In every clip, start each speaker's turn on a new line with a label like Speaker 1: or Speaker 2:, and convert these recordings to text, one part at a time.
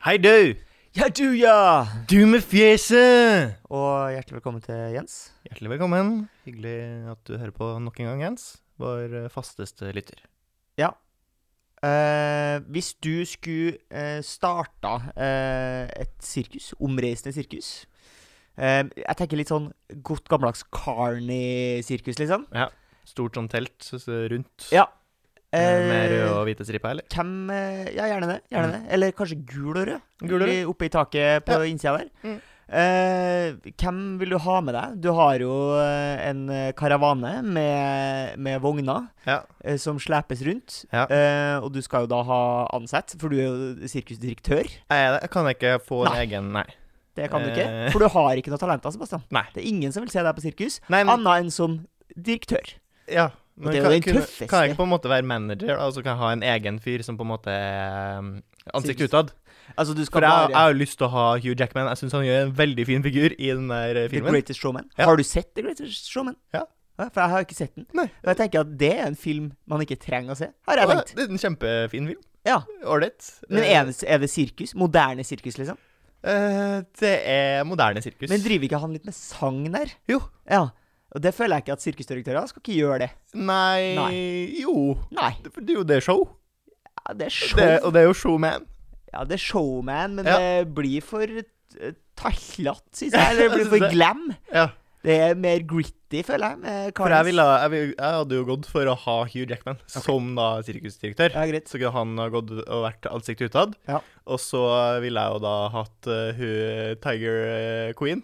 Speaker 1: Hei, du!
Speaker 2: Ja, du, ja!
Speaker 1: Du med fjeset!
Speaker 2: Og hjertelig velkommen til Jens.
Speaker 1: Hjertelig velkommen. Hyggelig at du hører på nok en gang, Jens. Vår eh, fasteste lytter.
Speaker 2: Eh, hvis du skulle eh, starta eh, et sirkus, omreisende sirkus eh, Jeg tenker litt sånn godt gammeldags Carney-sirkus, liksom.
Speaker 1: Stort sånn telt så- så rundt.
Speaker 2: Ja.
Speaker 1: Eh, Med
Speaker 2: Eh,
Speaker 1: rød og hvite striper, eller?
Speaker 2: Hvem eh, Ja, gjerne det. gjerne det Eller kanskje gul og rød.
Speaker 1: Mm. Gul og rød.
Speaker 2: I- Oppe i taket på
Speaker 1: Ja.
Speaker 2: innsida der.
Speaker 1: Mm.
Speaker 2: Eh, hvem vil du ha med deg? Du har jo eh, en eh, karavane med, med vogner.
Speaker 1: Ja.
Speaker 2: eh, som slepes rundt.
Speaker 1: Ja.
Speaker 2: Eh, og du skal jo da ha ansatt, for du er jo sirkusdirektør.
Speaker 1: Nei, det kan jeg ikke få en
Speaker 2: Nei.
Speaker 1: egen Nei.
Speaker 2: Det kan du
Speaker 1: Eh.
Speaker 2: ikke. For du har ikke noe talenter, Sebastian.
Speaker 1: Nei.
Speaker 2: Det er ingen som vil se deg på sirkus,
Speaker 1: Nei, men,
Speaker 2: annet enn som direktør.
Speaker 1: ja. Men
Speaker 2: det er jo
Speaker 1: kan,
Speaker 2: den
Speaker 1: kunne-
Speaker 2: tøffeste.
Speaker 1: Kan jeg ikke på en måte være manager, da, og så kan jeg ha en egen fyr som på en måte eh, Ansikt
Speaker 2: Sikkert.
Speaker 1: utad.
Speaker 2: Altså, du
Speaker 1: For
Speaker 2: skal
Speaker 1: jeg, jeg
Speaker 2: være
Speaker 1: har jo lyst til å ha Hugh Jackman. Jeg syns han gjør en veldig fin figur i den der eh,
Speaker 2: The
Speaker 1: filmen.
Speaker 2: Greatest Showman.
Speaker 1: Ja.
Speaker 2: Har du sett The Greatest Showman?
Speaker 1: Ja.
Speaker 2: For jeg har ikke sett den.
Speaker 1: Nei.
Speaker 2: Og jeg tenker at det er en film man ikke trenger å se, har
Speaker 1: Ja,
Speaker 2: jeg tenkt.
Speaker 1: det er en kjempefin film.
Speaker 2: Ja.
Speaker 1: Ålreit.
Speaker 2: Men
Speaker 1: Eh,
Speaker 2: er det, er det sirkus? Moderne sirkus, liksom?
Speaker 1: Eh, det er moderne sirkus.
Speaker 2: Men driver ikke han litt med sang der?
Speaker 1: Jo.
Speaker 2: Ja. Og det føler jeg ikke at sirkusdirektører skal ikke gjøre det.
Speaker 1: Nei, Jo.
Speaker 2: Nei.
Speaker 1: Det, for det er jo det er show.
Speaker 2: Ja, det er show.
Speaker 1: Det, og det er jo showman.
Speaker 2: Ja, det er showman, men
Speaker 1: Ja.
Speaker 2: det blir for eh, tallete, syns jeg. Eller
Speaker 1: Jeg
Speaker 2: det blir
Speaker 1: synes
Speaker 2: for
Speaker 1: det.
Speaker 2: glam.
Speaker 1: Ja.
Speaker 2: Det er mer gritty, føler jeg. Med
Speaker 1: For jeg,
Speaker 2: Karens.
Speaker 1: ville, jeg, vil- jeg hadde jo gått for å ha Hugh Jackman som da sirkusdirektør.
Speaker 2: Ja, greit.
Speaker 1: Så kunne han ha gått og vært ansikt utad.
Speaker 2: Ja.
Speaker 1: Og så ville jeg jo da hatt eh, hun Tiger eh, Queen.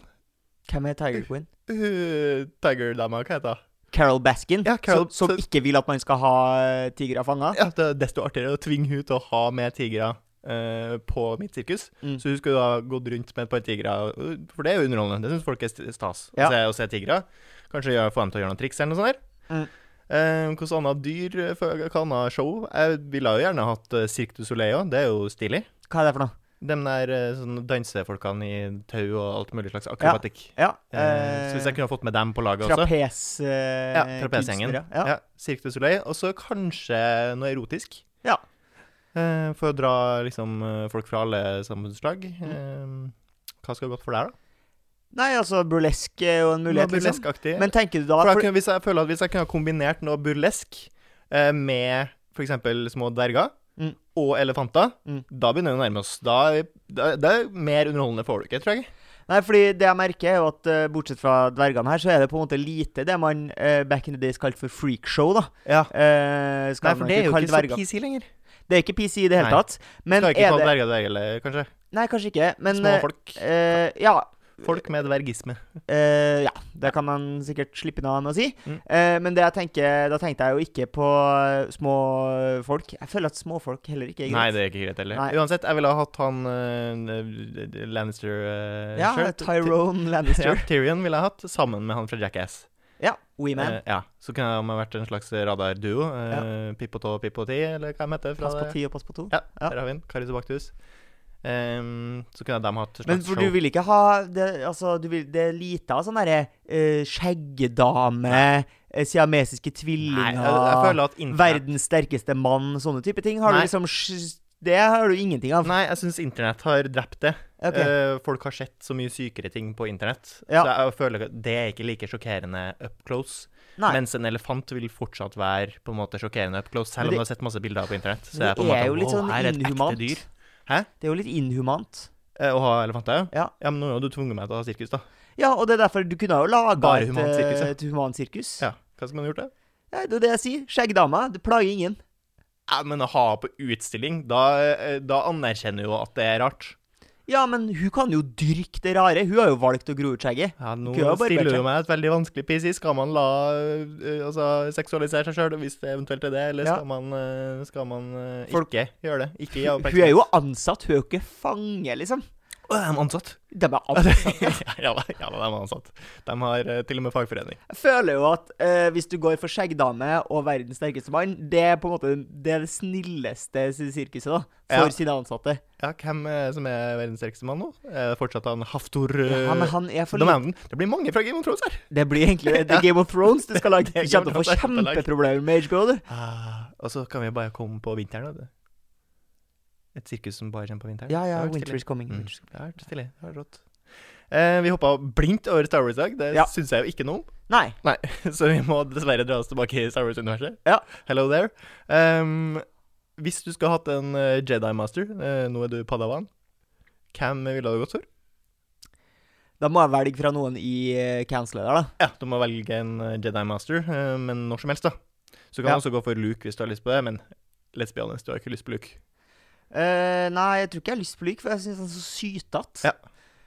Speaker 2: Hvem er Tiger Queen?
Speaker 1: Hun Tiger-dama, hva heter hun?
Speaker 2: Carol Baskin,
Speaker 1: Ja, Carol-
Speaker 2: som, som
Speaker 1: så-
Speaker 2: ikke vil at man skal ha eh, tigre fanga.
Speaker 1: Ja, det er desto artigere å tvinge hun til å ha med tigre eh, på mitt sirkus.
Speaker 2: Mm.
Speaker 1: Så hun skulle da gått rundt med et par tigre, og- for det er jo underholdende. Det syns folk er st- stas å,
Speaker 2: Ja.
Speaker 1: se, å se tigre. Kanskje gjøre, få dem til å gjøre noen triks eller noe sånt. der.
Speaker 2: Mm.
Speaker 1: Eh, Hvilket annet dyr, eh, for- hva annet show? Jeg ville jo gjerne hatt eh, Cirque du Soleil òg, det er jo stilig.
Speaker 2: Hva er det for noe?
Speaker 1: De der eh, sånn dansefolkene i tau og alt mulig slags akrobatikk.
Speaker 2: Ja,
Speaker 1: Eh, så hvis jeg
Speaker 2: eh,
Speaker 1: kunne ha fått med dem på laget også
Speaker 2: trapes...
Speaker 1: Ja, trapesgjengen.
Speaker 2: Ja.
Speaker 1: Eh, ja.
Speaker 2: Ja.
Speaker 1: Cirque du Soleil. Og så kanskje noe erotisk.
Speaker 2: Ja.
Speaker 1: Eh, for å dra liksom eh, folk fra alle samfunnslag.
Speaker 2: Mm.
Speaker 1: Eh, hva skal gå godt for deg, da?
Speaker 2: Nei, altså, burlesk er jo en mulighet,
Speaker 1: Noe
Speaker 2: liksom.
Speaker 1: burleskaktig.
Speaker 2: Men tenker du da
Speaker 1: For da
Speaker 2: for-
Speaker 1: kunne- hvis jeg føler at hvis jeg kunne ha kombinert noe burlesk eh, med f.eks. små dverger
Speaker 2: Mm.
Speaker 1: og elefanter,
Speaker 2: Mm.
Speaker 1: da begynner vi å nærme oss. Da, er- da, det er mer underholdende får du ikke, tror jeg.
Speaker 2: Nei, fordi det jeg merker er jo at eh, bortsett fra dvergene her, så er det på en måte lite det man eh, back in the days kalte for freakshow, da.
Speaker 1: Ja.
Speaker 2: Eh, skal
Speaker 1: Nei, for
Speaker 2: man
Speaker 1: det er jo
Speaker 2: kalle
Speaker 1: ikke så
Speaker 2: dverger.
Speaker 1: PC lenger.
Speaker 2: Det er ikke PC i det hele
Speaker 1: Nei.
Speaker 2: tatt. Men
Speaker 1: Skal ikke
Speaker 2: er
Speaker 1: kalle
Speaker 2: det
Speaker 1: dverger dverger, kanskje.
Speaker 2: Nei, kanskje ikke. Men
Speaker 1: Små
Speaker 2: eh,
Speaker 1: folk.
Speaker 2: eh, ja,
Speaker 1: Folk med dvergisme.
Speaker 2: eh, ja, det kan man sikkert slippe unna med å si.
Speaker 1: Mm.
Speaker 2: Eh, men det jeg tenker, da tenkte jeg jo ikke på eh, små folk. Jeg føler at små folk heller ikke er
Speaker 1: Nei,
Speaker 2: greit.
Speaker 1: det er ikke greit heller.
Speaker 2: Nei.
Speaker 1: Uansett, jeg ville ha hatt han eh, Lannister uh,
Speaker 2: ja, Tyrone
Speaker 1: Ja,
Speaker 2: Lannister.
Speaker 1: Tyrion ville jeg hatt sammen med han fra Jackass.
Speaker 2: ja, Weman.
Speaker 1: Eh, ja. Så kunne de ha vært en slags radarduo. Uh, Pip og tå, pip og ti, eller hva de heter. Fra
Speaker 2: Pass på
Speaker 1: det.
Speaker 2: ti og pass på to.
Speaker 1: Ja,
Speaker 2: Ja.
Speaker 1: der har vi den. Karisabaktus. Um, så kunne de hatt et
Speaker 2: Men
Speaker 1: slags
Speaker 2: for du
Speaker 1: show.
Speaker 2: vil ikke ha Det, altså, du vil, det er lite av sånn derre eh, skjeggedame, eh, siamesiske
Speaker 1: Nei,
Speaker 2: tvillinger
Speaker 1: jeg, jeg føler at internett
Speaker 2: Verdens sterkeste mann, sånne type ting. Har
Speaker 1: Nei.
Speaker 2: du liksom sj- Det har du ingenting av.
Speaker 1: Nei, jeg syns internett har drept det.
Speaker 2: Ok.
Speaker 1: Eh, folk har sett så mye sykere ting på internett.
Speaker 2: Ja.
Speaker 1: Så jeg føler at det er ikke like sjokkerende up close.
Speaker 2: Nei.
Speaker 1: Mens en elefant vil fortsatt være på en måte sjokkerende up close, selv
Speaker 2: Men
Speaker 1: om
Speaker 2: det-
Speaker 1: du har sett masse bilder av på internett. Så
Speaker 2: Men
Speaker 1: det er på en
Speaker 2: det
Speaker 1: måte
Speaker 2: er jo litt
Speaker 1: «Wow,
Speaker 2: sånn
Speaker 1: her er et ekte
Speaker 2: inhumant.
Speaker 1: dyr».
Speaker 2: Det er jo litt inhumant.
Speaker 1: Eh, Å ha elefanter?
Speaker 2: Ja.
Speaker 1: ja, men nå har du tvunget meg til å ha sirkus, da.
Speaker 2: Ja, og det er derfor du kunne ha jo laga
Speaker 1: Bare
Speaker 2: et,
Speaker 1: humant
Speaker 2: eh,
Speaker 1: sirkus, ja.
Speaker 2: et humant sirkus.
Speaker 1: Ja, hva skal man ha gjort da?
Speaker 2: Ja, det er det jeg sier. Skjeggdama. Det plager ingen.
Speaker 1: Ja, men å ha på utstilling, da, eh, da anerkjenner du jo at det er rart.
Speaker 2: Ja, men hun kan jo dyrke det rare. Hun har jo valgt å gro ut skjegget.
Speaker 1: Ja, nå
Speaker 2: Kunne jo barbert
Speaker 1: stiller
Speaker 2: seg.
Speaker 1: du meg et veldig vanskelig PC. Skal man la eh, altså, seksualisere seg sjøl, hvis det eventuelt er det, eller
Speaker 2: Ja.
Speaker 1: skal man, eh, skal man eh,
Speaker 2: Folk-
Speaker 1: ikke gjøre det? Ikke gi
Speaker 2: Hun er jo ansatt, hun er jo ikke fange, liksom.
Speaker 1: Å, de er ansatt.
Speaker 2: De er
Speaker 1: ja,
Speaker 2: ansatt.
Speaker 1: ja da, ja, da, de er ansatt. De har eh, til og med fagforening.
Speaker 2: Jeg føler jo at eh, hvis du går for skjeggdame og verdens sterkeste mann, det er på en måte det, er det snilleste sirkuset da,
Speaker 1: Ja.
Speaker 2: for sine ansatte.
Speaker 1: Ja, hvem eh, som er verdens sterkeste mann nå? Er det fortsatt han Haftor eh,
Speaker 2: Ja, men han er for
Speaker 1: The Man? Det blir mange fra Game of Thrones her.
Speaker 2: Det blir egentlig det. Det er Game of Thrones du skal lage.
Speaker 1: Det er
Speaker 2: Du
Speaker 1: Game
Speaker 2: kommer til å få
Speaker 1: of Thrones jeg skal lage.
Speaker 2: kjempeproblemer med HBO. du.
Speaker 1: Ah, og så kan vi bare komme på vinteren. vet du. Et sirkus som bare kommer på vinteren?
Speaker 2: Ja, ja,
Speaker 1: Det har vært
Speaker 2: Winter
Speaker 1: stilig.
Speaker 2: is coming.
Speaker 1: Mm.
Speaker 2: Winter is coming.
Speaker 1: Det har vært stilig. Det har vært rått. Eh, vi hoppa blindt over Star Wars i dag. Det
Speaker 2: Ja.
Speaker 1: syns jeg jo ikke noe om.
Speaker 2: Nei.
Speaker 1: Nei, så vi må dessverre dra oss tilbake i Star Wars-universet.
Speaker 2: Ja.
Speaker 1: Hello there. Ehm, hvis du skulle hatt en eh, Jedi Master, eh, nå er du padawan, hvem ville du gått for?
Speaker 2: Da må jeg velge fra noen i eh, council der, da.
Speaker 1: Ja, du må velge en eh, Jedi Master, eh, men når som helst, da. Så kan
Speaker 2: Ja.
Speaker 1: du også gå for Luke hvis du har lyst på det, men let's be honest, du har ikke lyst på Luke.
Speaker 2: Eh, nei, jeg tror ikke jeg har lyst på Luke, for jeg syns han er så sytete.
Speaker 1: Ja.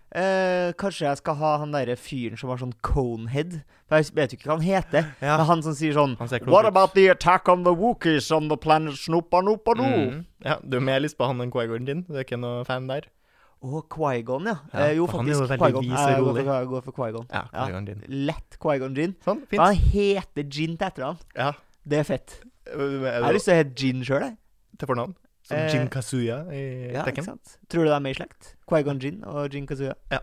Speaker 2: Eh, kanskje jeg skal ha han derre fyren som har sånn conehead. For jeg vet jo ikke hva han heter.
Speaker 1: Ja.
Speaker 2: Men han som sier sånn
Speaker 1: Han ser klok
Speaker 2: What
Speaker 1: ut.
Speaker 2: about the attack on the Wookiees on the planet Snoopa Noopa Noo?
Speaker 1: Mm. Ja, du har mer lyst på han enn Quaigoren din. Du er ikke noe fan der?
Speaker 2: Å, Qui-Gon, ja.
Speaker 1: Ja,
Speaker 2: Eh, jo,
Speaker 1: for han er jo
Speaker 2: faktisk.
Speaker 1: veldig
Speaker 2: Qui-Gon.
Speaker 1: vis og
Speaker 2: Jeg går
Speaker 1: rolig.
Speaker 2: for- jeg går for Qui-Gon.
Speaker 1: Ja, Quaigonen din.
Speaker 2: Lett Qui-Gon Gin.
Speaker 1: Sånn,
Speaker 2: Men han
Speaker 1: fint.
Speaker 2: heter Gin til etternavn.
Speaker 1: Ja.
Speaker 2: Det er fett.
Speaker 1: Øh,
Speaker 2: Jeg
Speaker 1: Er
Speaker 2: har
Speaker 1: du
Speaker 2: lyst til å hete Gin sjøl, jeg.
Speaker 1: til fornavn? Som
Speaker 2: Eh,
Speaker 1: Jin Kazuya i
Speaker 2: Ja, ikke
Speaker 1: Tekken?
Speaker 2: sant? Tror du de er med i slekt? Qui-Gon Gin og Gin Kazuya.
Speaker 1: Ja,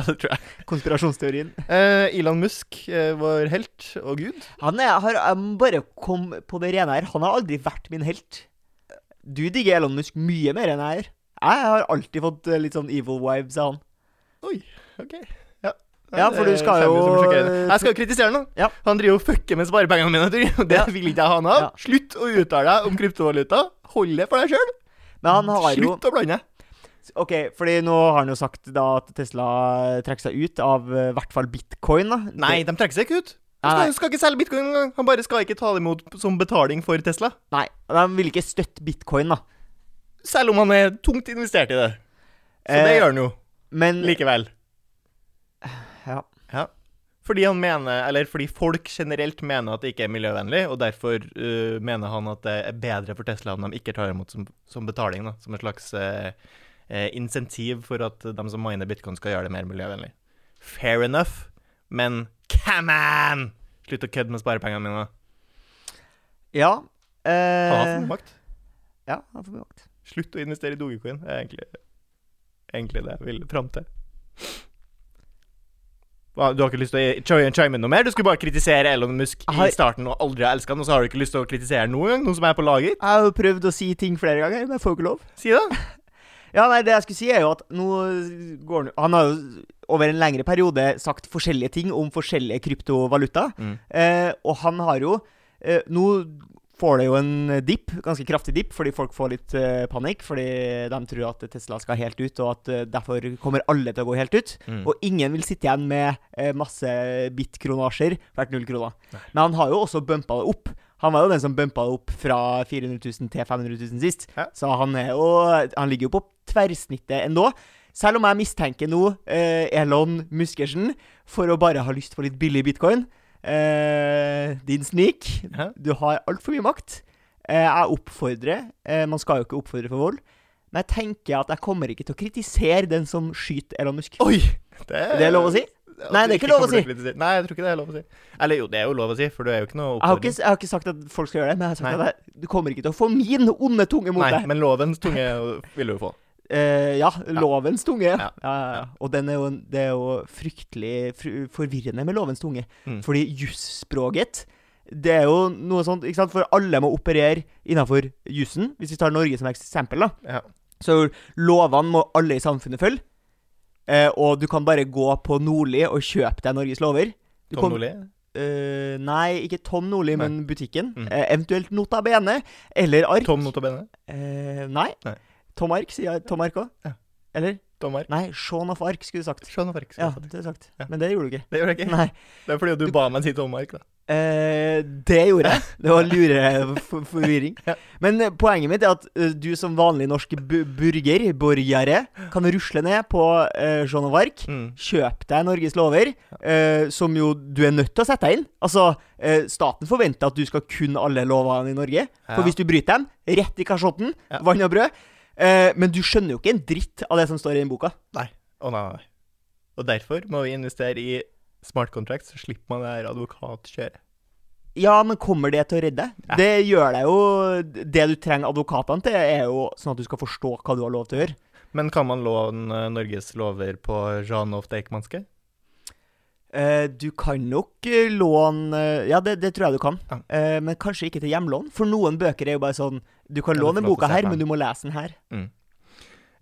Speaker 1: det tror jeg.
Speaker 2: Konspirasjonsteorien.
Speaker 1: Eh, Elon Musk, eh, vår helt og gud.
Speaker 2: Han er, har jeg må bare kom på det rene her. Han har aldri vært min helt. Du digger Elon Musk mye mer enn jeg gjør. Jeg har alltid fått eh, litt sånn evil vibes av han.
Speaker 1: Ok. Ja,
Speaker 2: Ja,
Speaker 1: det
Speaker 2: for du
Speaker 1: kommer
Speaker 2: skal jo- eh,
Speaker 1: som sjokkerende. Jeg skal jo kritisere han. da.
Speaker 2: Ja.
Speaker 1: Han driver og fucker med sparepengene mine. Tor. Det
Speaker 2: Ja.
Speaker 1: vil ikke jeg ha noe av.
Speaker 2: Ja.
Speaker 1: Slutt å uttale deg om kryptovaluta. Hold det for deg sjøl.
Speaker 2: Men han har jo
Speaker 1: Slutt å blande.
Speaker 2: Ok, fordi nå har han jo sagt da at Tesla trekker seg ut av eh, i hvert fall bitcoin, da.
Speaker 1: Nei, de trekker seg ikke ut. Han
Speaker 2: Nei,
Speaker 1: skal, skal ikke selge bitcoin engang. Han bare skal ikke ta det imot som betaling for Tesla.
Speaker 2: Nei, de vil ikke støtte bitcoin, da.
Speaker 1: Selv om han er tungt investert i det. Så det
Speaker 2: Eh,
Speaker 1: gjør han jo
Speaker 2: Men
Speaker 1: likevel.
Speaker 2: ja.
Speaker 1: Fordi han mener, eller fordi folk generelt mener at det ikke er miljøvennlig, og derfor eh, mener han at det er bedre for Tesla om de ikke tar imot som, som betaling, da, som et slags eh, eh, insentiv for at de som miner bitcoin skal gjøre det mer miljøvennlig. Fair enough, men come on! Slutt å kødde med sparepengene mine.
Speaker 2: Ja.
Speaker 1: Ta
Speaker 2: Eh,
Speaker 1: for mye makt.
Speaker 2: ja, han har for mye makt.
Speaker 1: Slutt å investere i dogecoin. Det er egentlig, egentlig det jeg vil fram til. Hva, Du har ikke lyst til å chime- chime inn noe mer? Du skulle bare kritisere Elon Musk
Speaker 2: Jeg har-
Speaker 1: i starten og aldri har elska han, og så har du ikke lyst til å kritisere han noen gang? Noe som er på laget?
Speaker 2: Jeg har jo prøvd å si ting flere ganger, men jeg får jo ikke lov.
Speaker 1: Si det.
Speaker 2: Ja, nei, det jeg skulle si er jo at nå går han Han har jo over en lengre periode sagt forskjellige ting om forskjellige kryptovaluta.
Speaker 1: Mm.
Speaker 2: Eh, og han har jo eh, Nå får det jo en dipp, ganske kraftig dipp, fordi folk får litt eh, panikk. Fordi de tror at Tesla skal helt ut, og at eh, derfor kommer alle til å gå helt ut.
Speaker 1: Mm.
Speaker 2: Og ingen vil sitte igjen med eh, masse bit-kronasjer, hvert null kroner. Men han har jo også bumpa det opp. Han var jo den som bumpa det opp fra 400 000 til 500 000 sist.
Speaker 1: Ja.
Speaker 2: Så han, er jo, han ligger jo på tverrsnittet ennå. Selv om jeg mistenker nå eh, Elon Muskersen for å bare ha lyst på litt billig bitcoin. Eh, din snik.
Speaker 1: Hæ?
Speaker 2: Du har altfor mye makt. Eh, jeg oppfordrer. Eh, man skal jo ikke oppfordre for vold. Men jeg tenker at jeg kommer ikke til å kritisere den som skyter Elon Musk.
Speaker 1: Oi!
Speaker 2: Er det lov å si?
Speaker 1: at
Speaker 2: Nei,
Speaker 1: du
Speaker 2: det er ikke lov å
Speaker 1: kommer
Speaker 2: si.
Speaker 1: til kritisere- Nei, jeg tror ikke det er lov å si. Eller jo, det er jo lov å si, for du er jo ikke noe
Speaker 2: Jeg har, ikke, jeg har ikke sagt at folk skal gjøre det, men jeg har sagt
Speaker 1: Nei.
Speaker 2: at jeg, du kommer ikke til å få min onde tunge mot
Speaker 1: Nei,
Speaker 2: deg.
Speaker 1: men lovens tunge vil du jo få.
Speaker 2: Eh, ja, lovens tunge. Ja.
Speaker 1: Ja,
Speaker 2: Ja, ja, ja. Og den er jo, det er jo fryktelig fr forvirrende med lovens tunge.
Speaker 1: Mm.
Speaker 2: Fordi jusspråket det er jo noe sånt, ikke sant? For alle må operere innenfor jussen. Hvis vi tar Norge som eksempel, da.
Speaker 1: Ja.
Speaker 2: Så lovene må alle i samfunnet følge. Eh, og du kan bare gå på Nordli og kjøpe deg Norges lover. Du
Speaker 1: Tom
Speaker 2: kom-
Speaker 1: Nordli?
Speaker 2: Eh, nei, ikke Tom Nordli,
Speaker 1: Nei.
Speaker 2: men butikken.
Speaker 1: Mm.
Speaker 2: Eh, eventuelt Nota Bene eller Ark.
Speaker 1: Tom Notabene?
Speaker 2: Eh, nei.
Speaker 1: Nei.
Speaker 2: Tom Ark, sier jeg. Tom Ark òg.
Speaker 1: Ja.
Speaker 2: Eller?
Speaker 1: Tom Mark?
Speaker 2: Nei, Shaun of Ark skulle du sagt.
Speaker 1: Sean of Arc, skal
Speaker 2: Ja,
Speaker 1: jeg si.
Speaker 2: det er sagt.
Speaker 1: Ja.
Speaker 2: Men det gjorde du ikke.
Speaker 1: Det gjør jeg ikke.
Speaker 2: Nei.
Speaker 1: Det er fordi du ba meg si Tom Mark, da.
Speaker 2: Eh, det gjorde jeg. Det var lure for- forvirring. Men eh, poenget mitt er at eh, du som vanlig norsk bu burger, borgere, kan rusle ned på eh, Jean of Arc.
Speaker 1: Mm.
Speaker 2: Kjøp deg Norges lover, eh, som jo du er nødt til å sette deg inn. Altså, eh, Staten forventer at du skal kunne alle lovene i Norge.
Speaker 1: Ja.
Speaker 2: For hvis du bryter dem, rett i kasjotten,
Speaker 1: Ja.
Speaker 2: vann og brød. Eh, men du skjønner jo ikke en dritt av det som står i den boka.
Speaker 1: Å nei, nei, nei. Og derfor må vi investere i smart contracts, så slipper man det her advokatkjøret.
Speaker 2: Ja, men kommer det til å redde deg?
Speaker 1: Ja.
Speaker 2: Det gjør deg jo Det du trenger advokatene til, er jo sånn at du skal forstå hva du har lov til å gjøre.
Speaker 1: Men kan man låne Norges lover på Jean of Deichmanske?
Speaker 2: Eh, du kan nok eh, låne Ja, det, det tror jeg du kan.
Speaker 1: Ja.
Speaker 2: Eh, men kanskje ikke til hjemlån. For noen bøker er jo bare sånn Du kan
Speaker 1: Ja, du
Speaker 2: låne
Speaker 1: får
Speaker 2: den
Speaker 1: lov til å
Speaker 2: boka
Speaker 1: se
Speaker 2: her,
Speaker 1: på
Speaker 2: men
Speaker 1: den.
Speaker 2: du må lese den her.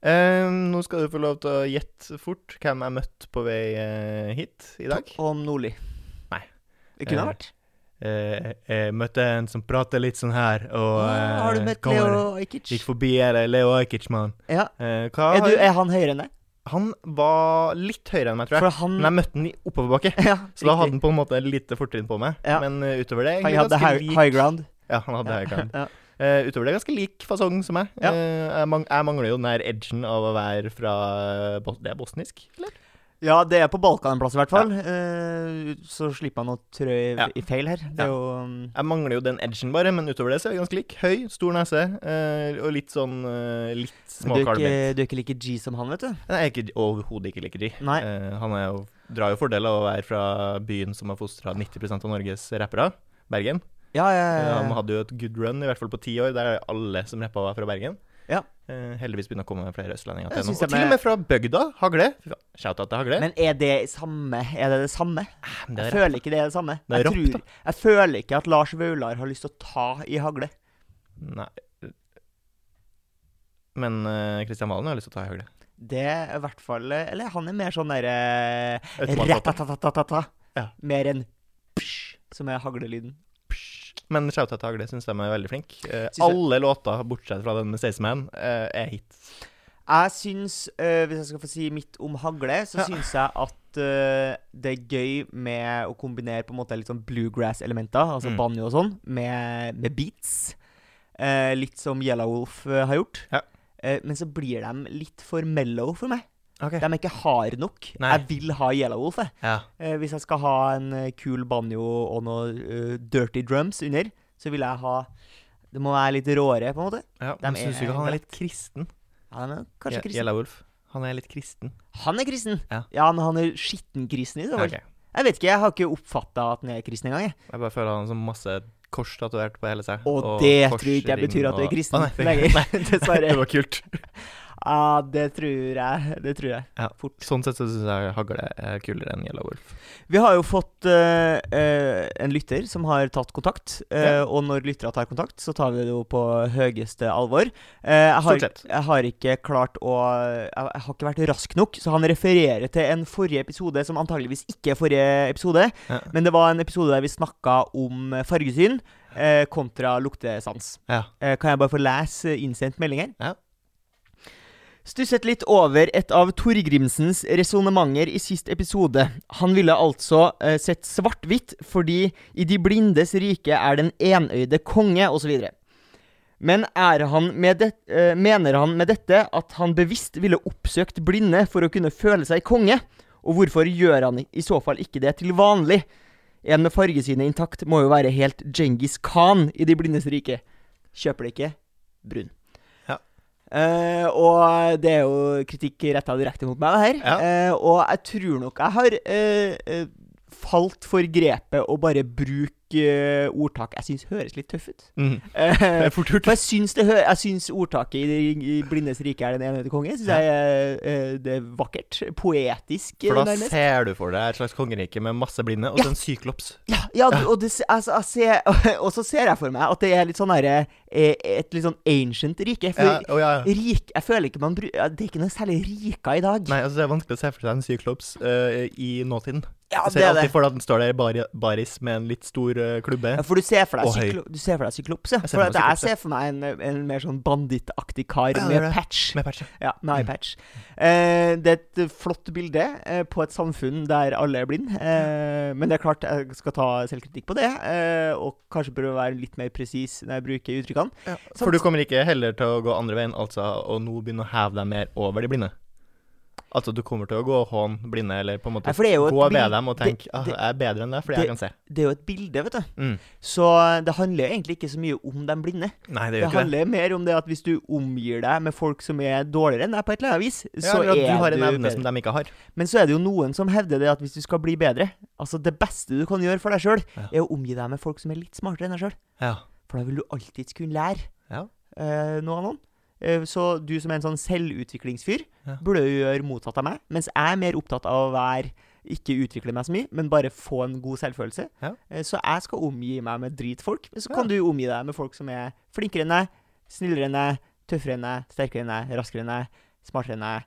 Speaker 1: Eh, nå skal du få lov til å gjette fort hvem jeg møtte på vei eh, hit i dag.
Speaker 2: Om Nordli.
Speaker 1: Nei.
Speaker 2: Det kunne
Speaker 1: Eh,
Speaker 2: ha vært.
Speaker 1: Eh, jeg møtte en som prater litt sånn her, og eh,
Speaker 2: Ah, har du møtt
Speaker 1: kommer-
Speaker 2: Leo Ajkic?
Speaker 1: Gikk forbi her, eh, Leo Ajkic, mann.
Speaker 2: Ja.
Speaker 1: Eh, hva
Speaker 2: Er, du,
Speaker 1: har-
Speaker 2: er han høyere enn deg?
Speaker 1: Han var litt høyere enn meg, tror jeg.
Speaker 2: For han
Speaker 1: Men jeg møtte han i oppoverbakke,
Speaker 2: ja,
Speaker 1: så da
Speaker 2: riktig.
Speaker 1: hadde han på en måte et lite fortrinn på meg.
Speaker 2: Ja.
Speaker 1: Men eh, utover det
Speaker 2: han
Speaker 1: egentlig
Speaker 2: hadde
Speaker 1: ganske
Speaker 2: high, high ground.
Speaker 1: Ja, han hadde high ground.
Speaker 2: Ja.
Speaker 1: Eh, utover det ganske lik fasong som meg.
Speaker 2: Ja.
Speaker 1: Eh, jeg, mang jeg mangler jo den der edgen av å være fra Bos Det er bosnisk, eller?
Speaker 2: Ja, det er på Balkan en plass, i hvert fall. Eh, så slipper han å trø i,
Speaker 1: Ja.
Speaker 2: i feil her.
Speaker 1: Ja.
Speaker 2: Det er jo um,
Speaker 1: Jeg mangler jo den edgen, bare, men utover det så er vi ganske lik. Høy, stor nese eh, og litt sånn eh, Litt
Speaker 2: men du, er
Speaker 1: småkalm.
Speaker 2: ikke,
Speaker 1: Jeg
Speaker 2: du er ikke like G som han, vet du.
Speaker 1: er ikke, overhodet ikke like de.
Speaker 2: Nei.
Speaker 1: Eh, han er jo, drar jo fordel av å være fra byen som har fostra 90 av Norges rappere, Bergen.
Speaker 2: Ja, ja,
Speaker 1: Eh,
Speaker 2: ja,
Speaker 1: Han
Speaker 2: ja.
Speaker 1: hadde jo et good run, i hvert fall på ti år, der alle som rappa var fra Bergen.
Speaker 2: Ja.
Speaker 1: Eh, heldigvis begynner å komme flere østlendinger til
Speaker 2: Jeg
Speaker 1: nå.
Speaker 2: synes
Speaker 1: Og
Speaker 2: de
Speaker 1: til
Speaker 2: er-
Speaker 1: og med fra bygda. Hagle. Fy faen, Shout-out til Hagle.
Speaker 2: Men er det samme? Er det det samme?
Speaker 1: Men det
Speaker 2: Jeg
Speaker 1: er rett.
Speaker 2: føler ikke det er det samme.
Speaker 1: Det er
Speaker 2: jeg,
Speaker 1: rapp,
Speaker 2: tror, jeg føler ikke at Lars Vaular har lyst til å ta i hagle.
Speaker 1: Nei. Men eh, Kristian Valen har lyst til å ta i hagle.
Speaker 2: Det er i hvert fall Eller han er mer sånn derre
Speaker 1: Automatvapen.
Speaker 2: Ratatatatata.
Speaker 1: Ja.
Speaker 2: Mer enn psj, som er haglelyden.
Speaker 1: Psh. Men shout-out til Hagle syns de er veldig flinke. Eh,
Speaker 2: Synes jeg-
Speaker 1: alle låter bortsett fra den med Staysman eh, er hit.
Speaker 2: Jeg syns, eh, hvis jeg skal få si mitt om hagle, så
Speaker 1: Ja.
Speaker 2: syns jeg at eh, det er gøy med å kombinere på en måte litt sånn bluegrass-elementer, altså
Speaker 1: Mm.
Speaker 2: banjo og sånn, med, med beats. Eh, litt som Yellow Wolf eh, har gjort.
Speaker 1: Ja.
Speaker 2: Eh, men så blir de litt for mellow for meg.
Speaker 1: Okay.
Speaker 2: De er ikke harde nok.
Speaker 1: Nei.
Speaker 2: Jeg vil ha Yellow Wolf, jeg.
Speaker 1: Ja.
Speaker 2: Eh, hvis jeg skal ha en eh, kul banjo og noe eh, dirty drums under, så vil jeg ha Det må være litt råere, på en måte.
Speaker 1: ja.
Speaker 2: De
Speaker 1: Men syns du
Speaker 2: er
Speaker 1: ikke han
Speaker 2: glatt.
Speaker 1: er litt kristen?
Speaker 2: Han er kanskje
Speaker 1: Ja,
Speaker 2: kristen.
Speaker 1: Jella Wolf. Han er litt kristen.
Speaker 2: Han er kristen!
Speaker 1: Ja.
Speaker 2: men han er skittenkristen i så fall.
Speaker 1: Ok.
Speaker 2: Jeg vet ikke, jeg har ikke oppfatta at han er kristen engang. jeg.
Speaker 1: Jeg bare føler han som masse kors tatovert på hele seg.
Speaker 2: Og, det
Speaker 1: korsring
Speaker 2: tror ikke jeg betyr at du er
Speaker 1: og-
Speaker 2: kristen
Speaker 1: Å, nei, det- nei,
Speaker 2: lenger. Dessverre.
Speaker 1: Det var kult.
Speaker 2: Ja, det tror jeg. Det tror jeg.
Speaker 1: Ja. Sånn sett så syns jeg Hagle er kulere enn Yellow Wolf.
Speaker 2: Vi har jo fått eh, eh, en lytter som har tatt kontakt. eh,
Speaker 1: Ja.
Speaker 2: Og når lyttere tar kontakt, så tar vi det jo på høyeste alvor. Eh, jeg, har,
Speaker 1: Stort sett.
Speaker 2: jeg har ikke klart å jeg, jeg har ikke vært rask nok, så han refererer til en forrige episode som antageligvis ikke er forrige episode.
Speaker 1: Ja.
Speaker 2: Men det var en episode der vi snakka om eh, fargesyn eh, kontra luktesans.
Speaker 1: Ja.
Speaker 2: Eh, kan jeg bare få lese eh, innsendt melding her?
Speaker 1: Ja.
Speaker 2: Stusset litt over et av Torgrimsens resonnementer i sist episode. Han ville altså eh, sett svart-hvitt fordi i de blindes rike er den enøyde konge, osv. Men er han med det, eh, mener han med dette at han bevisst ville oppsøkt blinde for å kunne føle seg konge? Og hvorfor gjør han i så fall ikke det til vanlig? En med fargesynet intakt må jo være helt Djengis Khan i De blindes rike. Kjøper det ikke brun.
Speaker 1: Ja.
Speaker 2: Eh, og det er jo kritikk retta direkte mot meg, det her.
Speaker 1: Ja.
Speaker 2: Eh, og jeg tror nok jeg har eh, eh, falt for grepet å bare bruke eh, ordtak jeg syns høres litt tøff ut.
Speaker 1: Mm. Det
Speaker 2: Eh,
Speaker 1: er fort gjort.
Speaker 2: for jeg syns, det hø jeg syns ordtaket i, i Blindes rike er den enøyde konge. Syns jeg eh, eh, det er vakkert. Poetisk, eh,
Speaker 1: For da
Speaker 2: nærmest.
Speaker 1: ser du for deg et slags kongerike med masse blinde, og så en syklops.
Speaker 2: Ja, ja, du- Og, det, s- altså, jeg ser, og så ser jeg for meg at det er litt sånn herre eh, Et litt sånn ancient rike. For
Speaker 1: Ja, og ja.
Speaker 2: rik Jeg føler ikke man bru- ja, Det er ikke noe særlig rika i dag.
Speaker 1: Nei, altså Det er vanskelig å se for seg en syklops eh, i nåtiden.
Speaker 2: ja,
Speaker 1: Du
Speaker 2: det
Speaker 1: ser
Speaker 2: er det.
Speaker 1: alltid for deg at den står der i bari, baris med en litt stor eh, klubbe.
Speaker 2: Ja, for du ser for deg,
Speaker 1: Og høy.
Speaker 2: syklo, du ser for deg syklops, ja.
Speaker 1: Jeg ser
Speaker 2: For
Speaker 1: for meg
Speaker 2: at jeg
Speaker 1: syklops, ja.
Speaker 2: ser for meg en, en mer sånn bandittaktig kar
Speaker 1: Ja, det
Speaker 2: med
Speaker 1: er det.
Speaker 2: patch.
Speaker 1: Med patch.
Speaker 2: Ja, med eyepatch. Eh, det er et flott bilde eh, på et samfunn der alle er blinde. Eh, men det er klart jeg skal ta selvkritikk på det, eh, og kanskje prøve å være litt mer presis når jeg bruker uttrykkene.
Speaker 1: For du kommer ikke heller til å gå andre veien, altså, og nå begynne å heve deg mer over de blinde? Altså, du kommer til å gå hån blinde, eller på en måte
Speaker 2: Nei, for det er jo et
Speaker 1: gå ved
Speaker 2: bild-
Speaker 1: dem og tenke
Speaker 2: det-
Speaker 1: ah,
Speaker 2: det-
Speaker 1: 'Jeg er bedre enn deg, fordi
Speaker 2: det-
Speaker 1: jeg kan se'.
Speaker 2: Det er jo et bilde, vet du.
Speaker 1: Mm.
Speaker 2: Så eh, det handler jo egentlig ikke så mye om de blinde.
Speaker 1: Nei, det
Speaker 2: Det
Speaker 1: gjør ikke det.
Speaker 2: handler mer om det at hvis du omgir deg med folk som er dårligere enn deg på et eller annet vis,
Speaker 1: Ja,
Speaker 2: så
Speaker 1: eller at
Speaker 2: er
Speaker 1: du har en evne
Speaker 2: bedre.
Speaker 1: som de ikke har.
Speaker 2: Men så er det jo noen som hevder det at hvis du skal bli bedre Altså, det beste du kan gjøre for deg sjøl,
Speaker 1: Ja.
Speaker 2: er å omgi deg med folk som er litt smartere enn deg sjøl.
Speaker 1: Ja.
Speaker 2: For da vil du alltids kunne lære
Speaker 1: Ja.
Speaker 2: eh, noe av noen. Eh, så du som er en sånn selvutviklingsfyr,
Speaker 1: Ja.
Speaker 2: burde jo gjøre motsatt av meg. Mens jeg er mer opptatt av å være ikke utvikle meg så mye, men bare få en god selvfølelse.
Speaker 1: Ja.
Speaker 2: Eh, Så jeg skal omgi meg med dritfolk. Men så
Speaker 1: Ja.
Speaker 2: kan du omgi deg med folk som er flinkere enn deg, Snillere enn deg, tøffere enn deg, sterkere enn deg, raskere enn deg, smartere enn deg,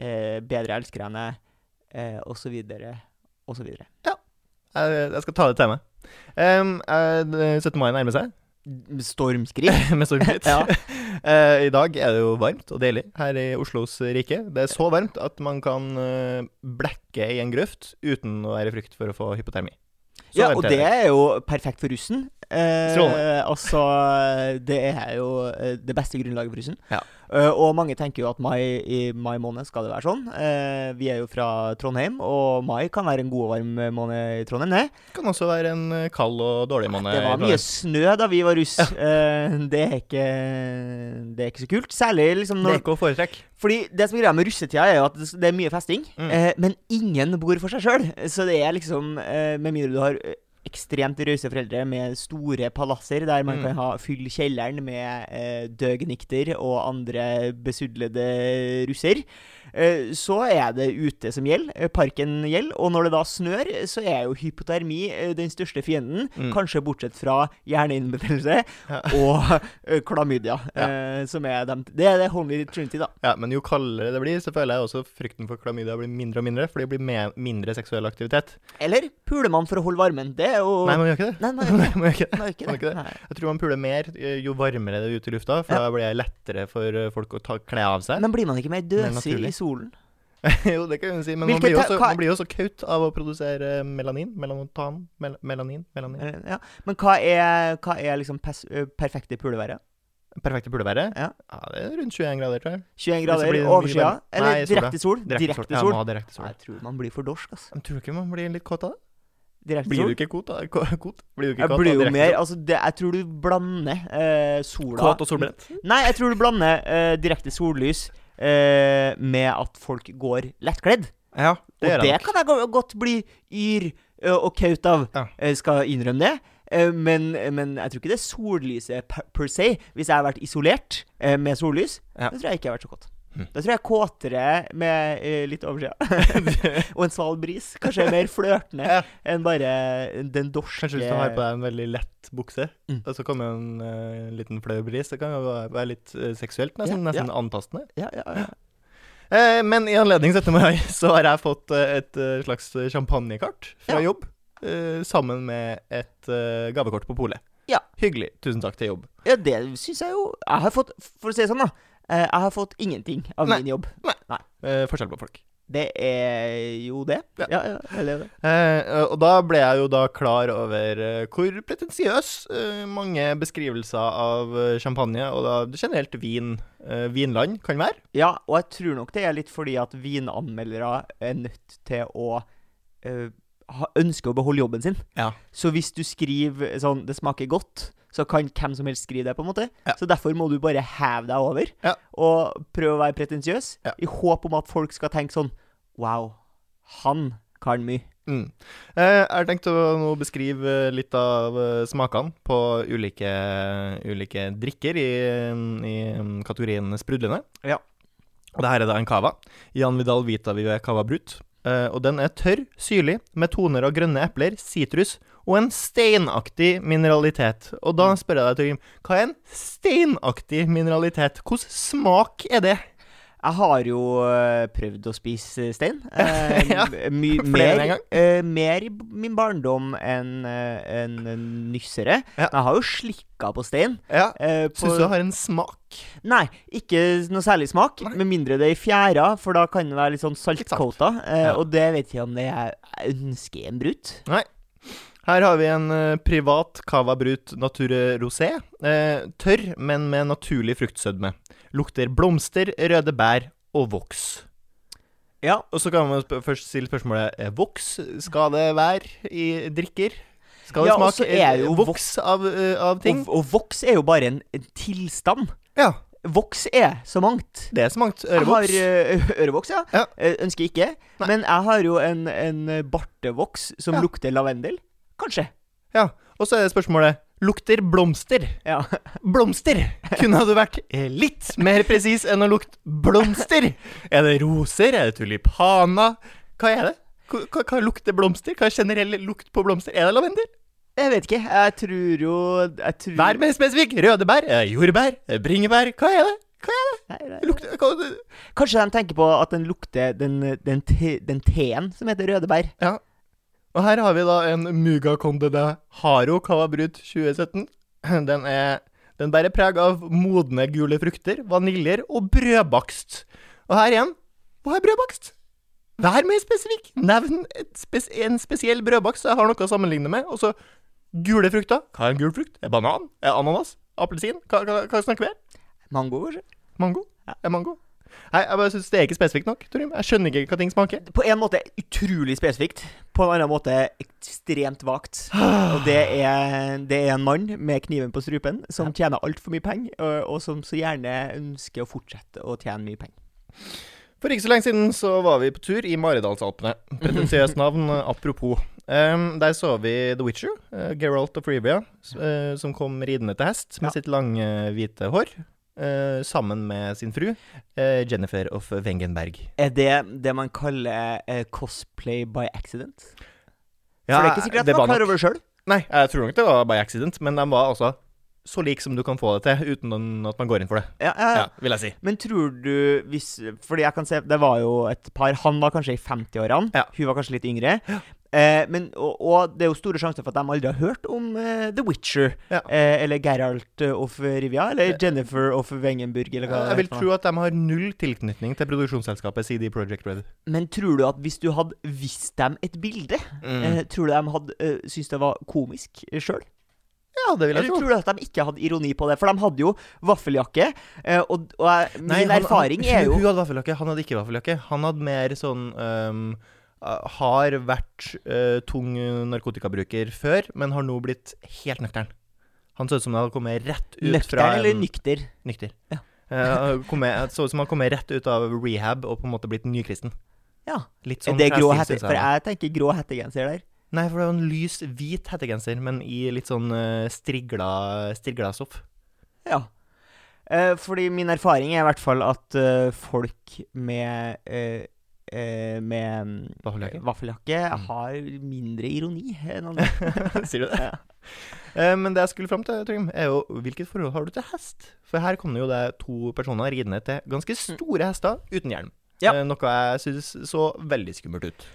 Speaker 2: eh, bedre elskere enn deg, eh, og så videre, og så videre.
Speaker 1: Jeg, jeg skal ta det til meg. Em, eh, 17. mai nærmer seg,
Speaker 2: Stormskritt.
Speaker 1: med Mm, stormskritt.
Speaker 2: Ja.
Speaker 1: Eh, I dag er det jo varmt og deilig her i Oslos rike. Det er så varmt at man kan eh, blekke i en grøft uten å være i frykt for å få hypotermi. Så
Speaker 2: Ja,
Speaker 1: varmt
Speaker 2: og
Speaker 1: er
Speaker 2: det er jo perfekt for russen. Eh,
Speaker 1: Strålende.
Speaker 2: altså, det er jo eh, det beste grunnlaget for russen.
Speaker 1: Ja.
Speaker 2: Eh, og mange tenker jo at mai, i mai måned skal det være sånn. Eh, vi er jo fra Trondheim, og mai kan være en god og varm måned i Trondheim. Det,
Speaker 1: Det kan også være en eh, kald og dårlig måned. i
Speaker 2: det var
Speaker 1: Trondheim.
Speaker 2: mye snø da vi var russ. Eh, det, er ikke, det er ikke så kult. Særlig liksom
Speaker 1: Det er
Speaker 2: når
Speaker 1: ikke å foretrekke.
Speaker 2: Fordi det som er greia med russetida, er jo at det det er mye festing,
Speaker 1: Mm.
Speaker 2: eh, men ingen bor for seg sjøl. Så det er liksom eh, Med mindre du har eh, ekstremt rause foreldre med store palasser der man
Speaker 1: Mm.
Speaker 2: kan ha fylle kjelleren med eh, døgnikter og andre besudlede russer, eh, så er det ute som gjelder. eh, Parken gjelder. Og når det da snør, så er jo hypotermi eh, den største fienden.
Speaker 1: Mm.
Speaker 2: Kanskje bortsett fra hjerneinnbetennelse
Speaker 1: Ja.
Speaker 2: og eh, klamydia, eh, som er dem. Det er det Holy Trinity, da.
Speaker 1: Ja, men jo kaldere det blir, så føler jeg også frykten for klamydia blir mindre og mindre, for det blir me- mindre seksuell aktivitet.
Speaker 2: Eller puler man for å holde varmen? Det er jo
Speaker 1: Nei, man gjør ikke det.
Speaker 2: Nei, nei,
Speaker 1: Nei, man gjør ikke det.
Speaker 2: man gjør ikke
Speaker 1: Man gjør ikke
Speaker 2: det.
Speaker 1: det.
Speaker 2: Nei.
Speaker 1: Jeg tror man puler mer eh, jo varmere det er ute i lufta, for
Speaker 2: Ja.
Speaker 1: da blir det lettere for eh, folk å ta, kle av seg.
Speaker 2: Men blir man ikke mer
Speaker 1: Mer
Speaker 2: døsig
Speaker 1: naturlig.
Speaker 2: i solen?
Speaker 1: jo, det kan hun si, men man
Speaker 2: Hvilket
Speaker 1: blir, jo
Speaker 2: ta-
Speaker 1: så,
Speaker 2: hva-
Speaker 1: man blir jo så kaut av å produsere melanin. Melanotan. Mel melanin. melanin.
Speaker 2: Eller- Eh, Ja. Men hva er, hva er liksom pes, ø, perfekte puleværet?
Speaker 1: Perfekte puleværet?
Speaker 2: Ja.
Speaker 1: ja, det er rundt 21 grader, tror jeg.
Speaker 2: 21
Speaker 1: Hvis det blir
Speaker 2: grader,
Speaker 1: mye
Speaker 2: overskya?
Speaker 1: varme. Nei,
Speaker 2: Eller
Speaker 1: sola.
Speaker 2: direkte sol? Direkte
Speaker 1: Ja,
Speaker 2: sol.
Speaker 1: må ha direkte
Speaker 2: Nei,
Speaker 1: sol.
Speaker 2: Jeg tror man blir for dorsk, altså.
Speaker 1: Men tror du ikke man blir litt kåt av det?
Speaker 2: Direkte
Speaker 1: Blir du
Speaker 2: sol.
Speaker 1: ikke kåt av ko- kåt? Blir du ikke
Speaker 2: Jeg
Speaker 1: kåt
Speaker 2: blir
Speaker 1: av
Speaker 2: jo
Speaker 1: direkte
Speaker 2: mer
Speaker 1: sol?
Speaker 2: Altså, det, jeg tror du blander eh, sola
Speaker 1: Kåt og solbrent?
Speaker 2: Nei, jeg tror du blander eh, direkte sollys eh, med at folk går lettkledd.
Speaker 1: Ja, det
Speaker 2: og
Speaker 1: gjør
Speaker 2: det
Speaker 1: jeg nok.
Speaker 2: kan jeg go- godt bli yr ø, og kaut av.
Speaker 1: Ja.
Speaker 2: Jeg skal innrømme det. Eh, Men, men jeg tror ikke det er sollyset per, per se. Hvis jeg har vært isolert eh, med sollys,
Speaker 1: Ja.
Speaker 2: da tror jeg ikke jeg har vært så kåt.
Speaker 1: Hm.
Speaker 2: Da tror jeg jeg er kåtere med eh, litt overskya. og en sval bris. Kanskje mer flørtende
Speaker 1: Ja.
Speaker 2: enn bare den dorske
Speaker 1: Kanskje hvis du har på deg en veldig lett bukse,
Speaker 2: Mm.
Speaker 1: og så kommer en eh, liten flau bris, det kan jo være- være litt eh, seksuelt, nesten,
Speaker 2: Ja, ja.
Speaker 1: nesten antastende.
Speaker 2: ja, ja, ja.
Speaker 1: Eh, men i anledning 17. mai så har jeg fått eh, et eh, slags champagnekart fra
Speaker 2: Ja.
Speaker 1: jobb. eh, sammen med et eh, gavekort på polet.
Speaker 2: Ja.
Speaker 1: Hyggelig. Tusen takk til jobb.
Speaker 2: ja, det syns jeg jo Jeg har fått, for å si det sånn, da. eh, Jeg har fått ingenting av
Speaker 1: Nei.
Speaker 2: min jobb.
Speaker 1: Eh, forskjell på folk.
Speaker 2: Det er jo det.
Speaker 1: Ja.
Speaker 2: Ja, ja, eller det.
Speaker 1: Eh, og da ble jeg jo da klar over eh, hvor pretensiøs eh, mange beskrivelser av eh, champagne, og da generelt vin, eh, vinland, kan være.
Speaker 2: Ja, og jeg tror nok det er litt fordi at vinanmeldere er nødt til å eh, ha, ønske å beholde jobben sin.
Speaker 1: Ja.
Speaker 2: Så hvis du skriver sånn 'det smaker godt', så kan hvem som helst skrive det, på en måte.
Speaker 1: Ja.
Speaker 2: Så derfor må du bare heve deg over
Speaker 1: Ja.
Speaker 2: og prøve å være pretensiøs,
Speaker 1: Ja.
Speaker 2: i håp om at folk skal tenke sånn 'wow, han kan mye'.
Speaker 1: Mm. Eh, jeg har tenkt å nå beskrive eh, litt av eh, smakene på ulike, ulike drikker i, i mm, kategorien sprudlende.
Speaker 2: Ja.
Speaker 1: Og det her er da en cava. Jan Vidal Vita Vive Cava Brut. Eh, og den er tørr, syrlig, med toner av grønne epler, sitrus og en steinaktig mineralitet. Og da spør jeg deg, Torgrim, hva er en steinaktig mineralitet? Hvilken smak er det?
Speaker 2: Jeg har jo eh, prøvd å spise stein. Eh,
Speaker 1: Ja,
Speaker 2: m- my-
Speaker 1: flere
Speaker 2: mer,
Speaker 1: enn en gang.
Speaker 2: eh, mer i b- min barndom enn eh, en en nyssere.
Speaker 1: Ja.
Speaker 2: Men jeg har jo slikka på stein.
Speaker 1: Ja.
Speaker 2: eh, på,
Speaker 1: Syns du det har en smak?
Speaker 2: Nei, ikke noe særlig smak.
Speaker 1: Nei.
Speaker 2: Med mindre det er i fjæra, for da kan det være litt sånn
Speaker 1: Litt salt.
Speaker 2: saltcoata. Eh,
Speaker 1: Ja.
Speaker 2: Og det vet jeg om det jeg ønsker en brut.
Speaker 1: Her har vi en eh, privat Cava Brut Nature Rosé. Eh, tørr, men med naturlig fruktsødme. Lukter blomster, røde bær og voks.
Speaker 2: Ja.
Speaker 1: Og så kan man sp først stille spørsmålet eh, Voks skal det være i drikker? Skal det
Speaker 2: Ja, og så
Speaker 1: smake eh,
Speaker 2: er jo
Speaker 1: voks av, eh, av ting?
Speaker 2: Og, og voks er jo bare en, en tilstand.
Speaker 1: ja,
Speaker 2: Voks er så mangt.
Speaker 1: det er så mangt. Ørevoks.
Speaker 2: Jeg har eh, ø, ørevoks, ja.
Speaker 1: Ja.
Speaker 2: Ø, Ønsker ikke.
Speaker 1: Nei.
Speaker 2: Men jeg har jo en, en bartevoks som
Speaker 1: Ja.
Speaker 2: lukter lavendel. Kanskje.
Speaker 1: Ja. Og så er spørsmålet Lukter blomster?
Speaker 2: Ja.
Speaker 1: Blomster! Kunne du vært eh, litt mer presis enn å lukte blomster? Er det roser? Er det tulipaner? Hva er det? Hva, hva, hva lukter blomster? Hva er generell lukt på blomster? Er det lavendel?
Speaker 2: Jeg vet ikke. Jeg tror jo jeg tror...
Speaker 1: Vær mer spesifikk! Røde bær, eh, jordbær, eh, bringebær. Hva er det? Hva er det?
Speaker 2: Nei, nei.
Speaker 1: Lukter hva,
Speaker 2: Kanskje de tenker på at den lukter den, den, te, den teen som heter røde bær.
Speaker 1: Ja. Og her har vi da en Muga Conde de Haro Kawabrut 2017. Den, er, den bærer preg av modne gule frukter, vaniljer og brødbakst. Og her igjen hva er brødbakst? Vær mer spesifikk! Nevn et spes en spesiell brødbakst jeg har noe å sammenligne med. Og så gule frukter. Hva er en gul frukt? Er banan? Er ananas? Appelsin? Hva, hva, hva snakker vi her?
Speaker 2: Mango, kanskje?
Speaker 1: Mango? Er mango? Nei, jeg bare syns det er ikke spesifikt nok. Torim. Jeg skjønner ikke hva ting smaker.
Speaker 2: På en måte utrolig spesifikt. På en annen måte ekstremt vagt. Og det er, det er en mann med kniven på strupen som tjener altfor mye penger, og, og som så gjerne ønsker å fortsette å tjene mye penger.
Speaker 1: For ikke så lenge siden så var vi på tur i Maridalsalpene. Pretensiøst navn, eh, apropos. Ehm, der så vi The Witcher, eh, Geralt of Rivia, s- eh, som kom ridende til hest med
Speaker 2: Ja.
Speaker 1: sitt lange, hvite hår. eh, sammen med sin fru, eh, Jennifer of Wengenberg.
Speaker 2: Er det det man kaller eh, cosplay by accident? For det er ikke sikkert at
Speaker 1: det var
Speaker 2: man var klar
Speaker 1: nok-
Speaker 2: over det sjøl.
Speaker 1: Nei, jeg tror nok det var by accident, men de var altså så like som du kan få det til, uten at man går inn for det.
Speaker 2: Ja, ja, ja.
Speaker 1: Ja, vil jeg si.
Speaker 2: Men tror du hvis Fordi jeg kan se Det var jo et par Han var kanskje i 50-årene.
Speaker 1: Ja.
Speaker 2: Hun var kanskje litt yngre. Eh, men, og, og det er jo store sjanser for at de aldri har hørt om eh, The Witcher.
Speaker 1: Ja.
Speaker 2: Eh, eller Geralt of Rivia. Eller Jennifer of Wengenburg. Eller hva
Speaker 1: Eh, Jeg
Speaker 2: det
Speaker 1: vil
Speaker 2: heter for
Speaker 1: tro at de har null tilknytning til produksjonsselskapet CD Projekt Red.
Speaker 2: noe. Men tror du at hvis du hadde vist dem et bilde,
Speaker 1: Mm.
Speaker 2: eh, tror du de hadde eh, syntes det var komisk sjøl?
Speaker 1: Ja, det vil jeg
Speaker 2: Eller
Speaker 1: tro.
Speaker 2: tror du at de ikke hadde ironi på det? For de hadde jo vaffeljakke. Eh, og og jeg, min
Speaker 1: Nei, han-
Speaker 2: erfaring
Speaker 1: han,
Speaker 2: er jo
Speaker 1: Hun hadde vaffeljakke, han hadde ikke vaffeljakke. Han hadde mer sånn ehm, eh, Har vært eh, tung narkotikabruker før, men har nå blitt helt nøktern. Han så ut som han hadde kommet rett ut fra
Speaker 2: Nøktern
Speaker 1: en-
Speaker 2: eller nykter?
Speaker 1: Nykter.
Speaker 2: Ja.
Speaker 1: Eh, kommet, så ut som han kom rett ut av rehab og på en måte blitt nykristen.
Speaker 2: Ja.
Speaker 1: Litt
Speaker 2: Er
Speaker 1: sånn
Speaker 2: det grå
Speaker 1: klesstil,
Speaker 2: hette?
Speaker 1: synes
Speaker 2: For
Speaker 1: jeg.
Speaker 2: jeg tenker grå hettegenser der.
Speaker 1: Nei, for det var en lys hvit hettegenser, men i litt sånn eh, strigla, strigla stoff.
Speaker 2: Ja. Eh, fordi min erfaring er i hvert fall at eh, folk med eh, eh, med mm,
Speaker 1: Vaffeljakke?
Speaker 2: vaffeljakke
Speaker 1: Mm.
Speaker 2: har mindre ironi enn andre.
Speaker 1: Sier du det?
Speaker 2: Ja.
Speaker 1: Eh, Men det jeg skulle fram til, Trym, er jo hvilket forhold har du til hest? For her kom det jo det to personer ridende til ganske store hester uten hjelm.
Speaker 2: Mm. Ja.
Speaker 1: Eh, Noe jeg syns så veldig skummelt ut.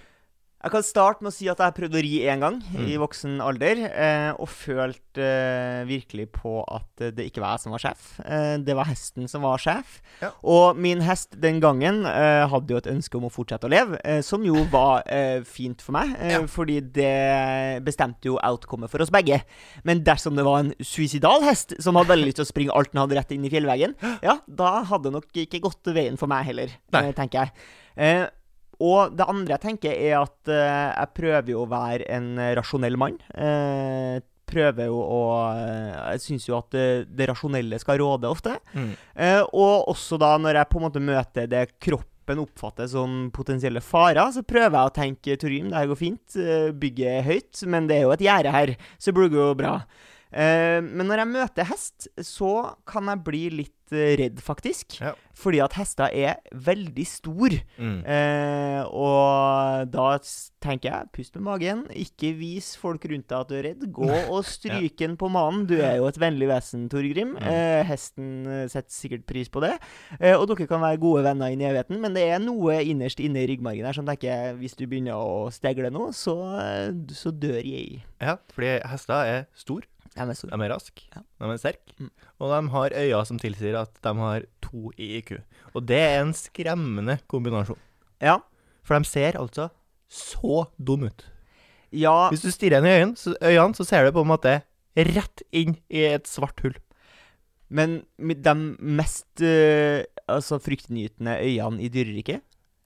Speaker 2: Jeg kan starte med å si at jeg har prøvd å ri én gang i
Speaker 1: Mm.
Speaker 2: voksen alder, eh, og følt eh, virkelig på at eh, det ikke var jeg som var sjef. Eh, det var hesten som var sjef.
Speaker 1: Ja.
Speaker 2: Og min hest den gangen eh, hadde jo et ønske om å fortsette å leve, eh, som jo var eh, fint for meg, eh,
Speaker 1: Ja.
Speaker 2: fordi det bestemte jo outcomet for oss begge. Men dersom det var en suicidal hest som hadde veldig lyst til å springe alt den hadde rett inn i fjellveggen, ja, da hadde nok ikke gått veien for meg heller,
Speaker 1: Nei.
Speaker 2: eh, tenker jeg. Eh, og det andre jeg tenker, er at eh, jeg prøver jo å være en rasjonell mann. Eh, prøver jo å Jeg syns jo at eh, det rasjonelle skal råde ofte. Eh, og også da når jeg på en måte møter det kroppen oppfatter som potensielle farer, så prøver jeg å tenke Torim, det her går fint, eh, bygget er høyt, men det er jo et gjerde her, så det går jo bra. Eh, men når jeg møter hest, så kan jeg bli litt eh, redd, faktisk.
Speaker 1: Ja.
Speaker 2: Fordi at hester er veldig stor.
Speaker 1: Mm.
Speaker 2: Eh, og da s- tenker jeg, pust med magen, ikke vis folk rundt deg at du er redd. Gå og stryk den på manen. Du er jo et vennlig vesen, Torgrim.
Speaker 1: Mm.
Speaker 2: Eh, hesten eh, setter sikkert pris på det. Eh, og dere kan være gode venner inn i evigheten, men det er noe innerst inne i ryggmargen her som tenker, hvis du begynner å stegle nå, så, eh, så dør jeg.
Speaker 1: Ja, fordi hester er stor,
Speaker 2: Jeg er mest
Speaker 1: de er raske,
Speaker 2: Ja.
Speaker 1: de er sterke,
Speaker 2: Mm.
Speaker 1: og de har øyne som tilsier at de har to i IQ. Og det er en skremmende kombinasjon.
Speaker 2: Ja.
Speaker 1: For de ser altså så dumme ut.
Speaker 2: ja.
Speaker 1: Hvis du stirrer inn i øynene, så, øynene, så ser du på en måte rett inn i et svart hull.
Speaker 2: Men med de mest eh, altså, fryktinngytende øynene i dyreriket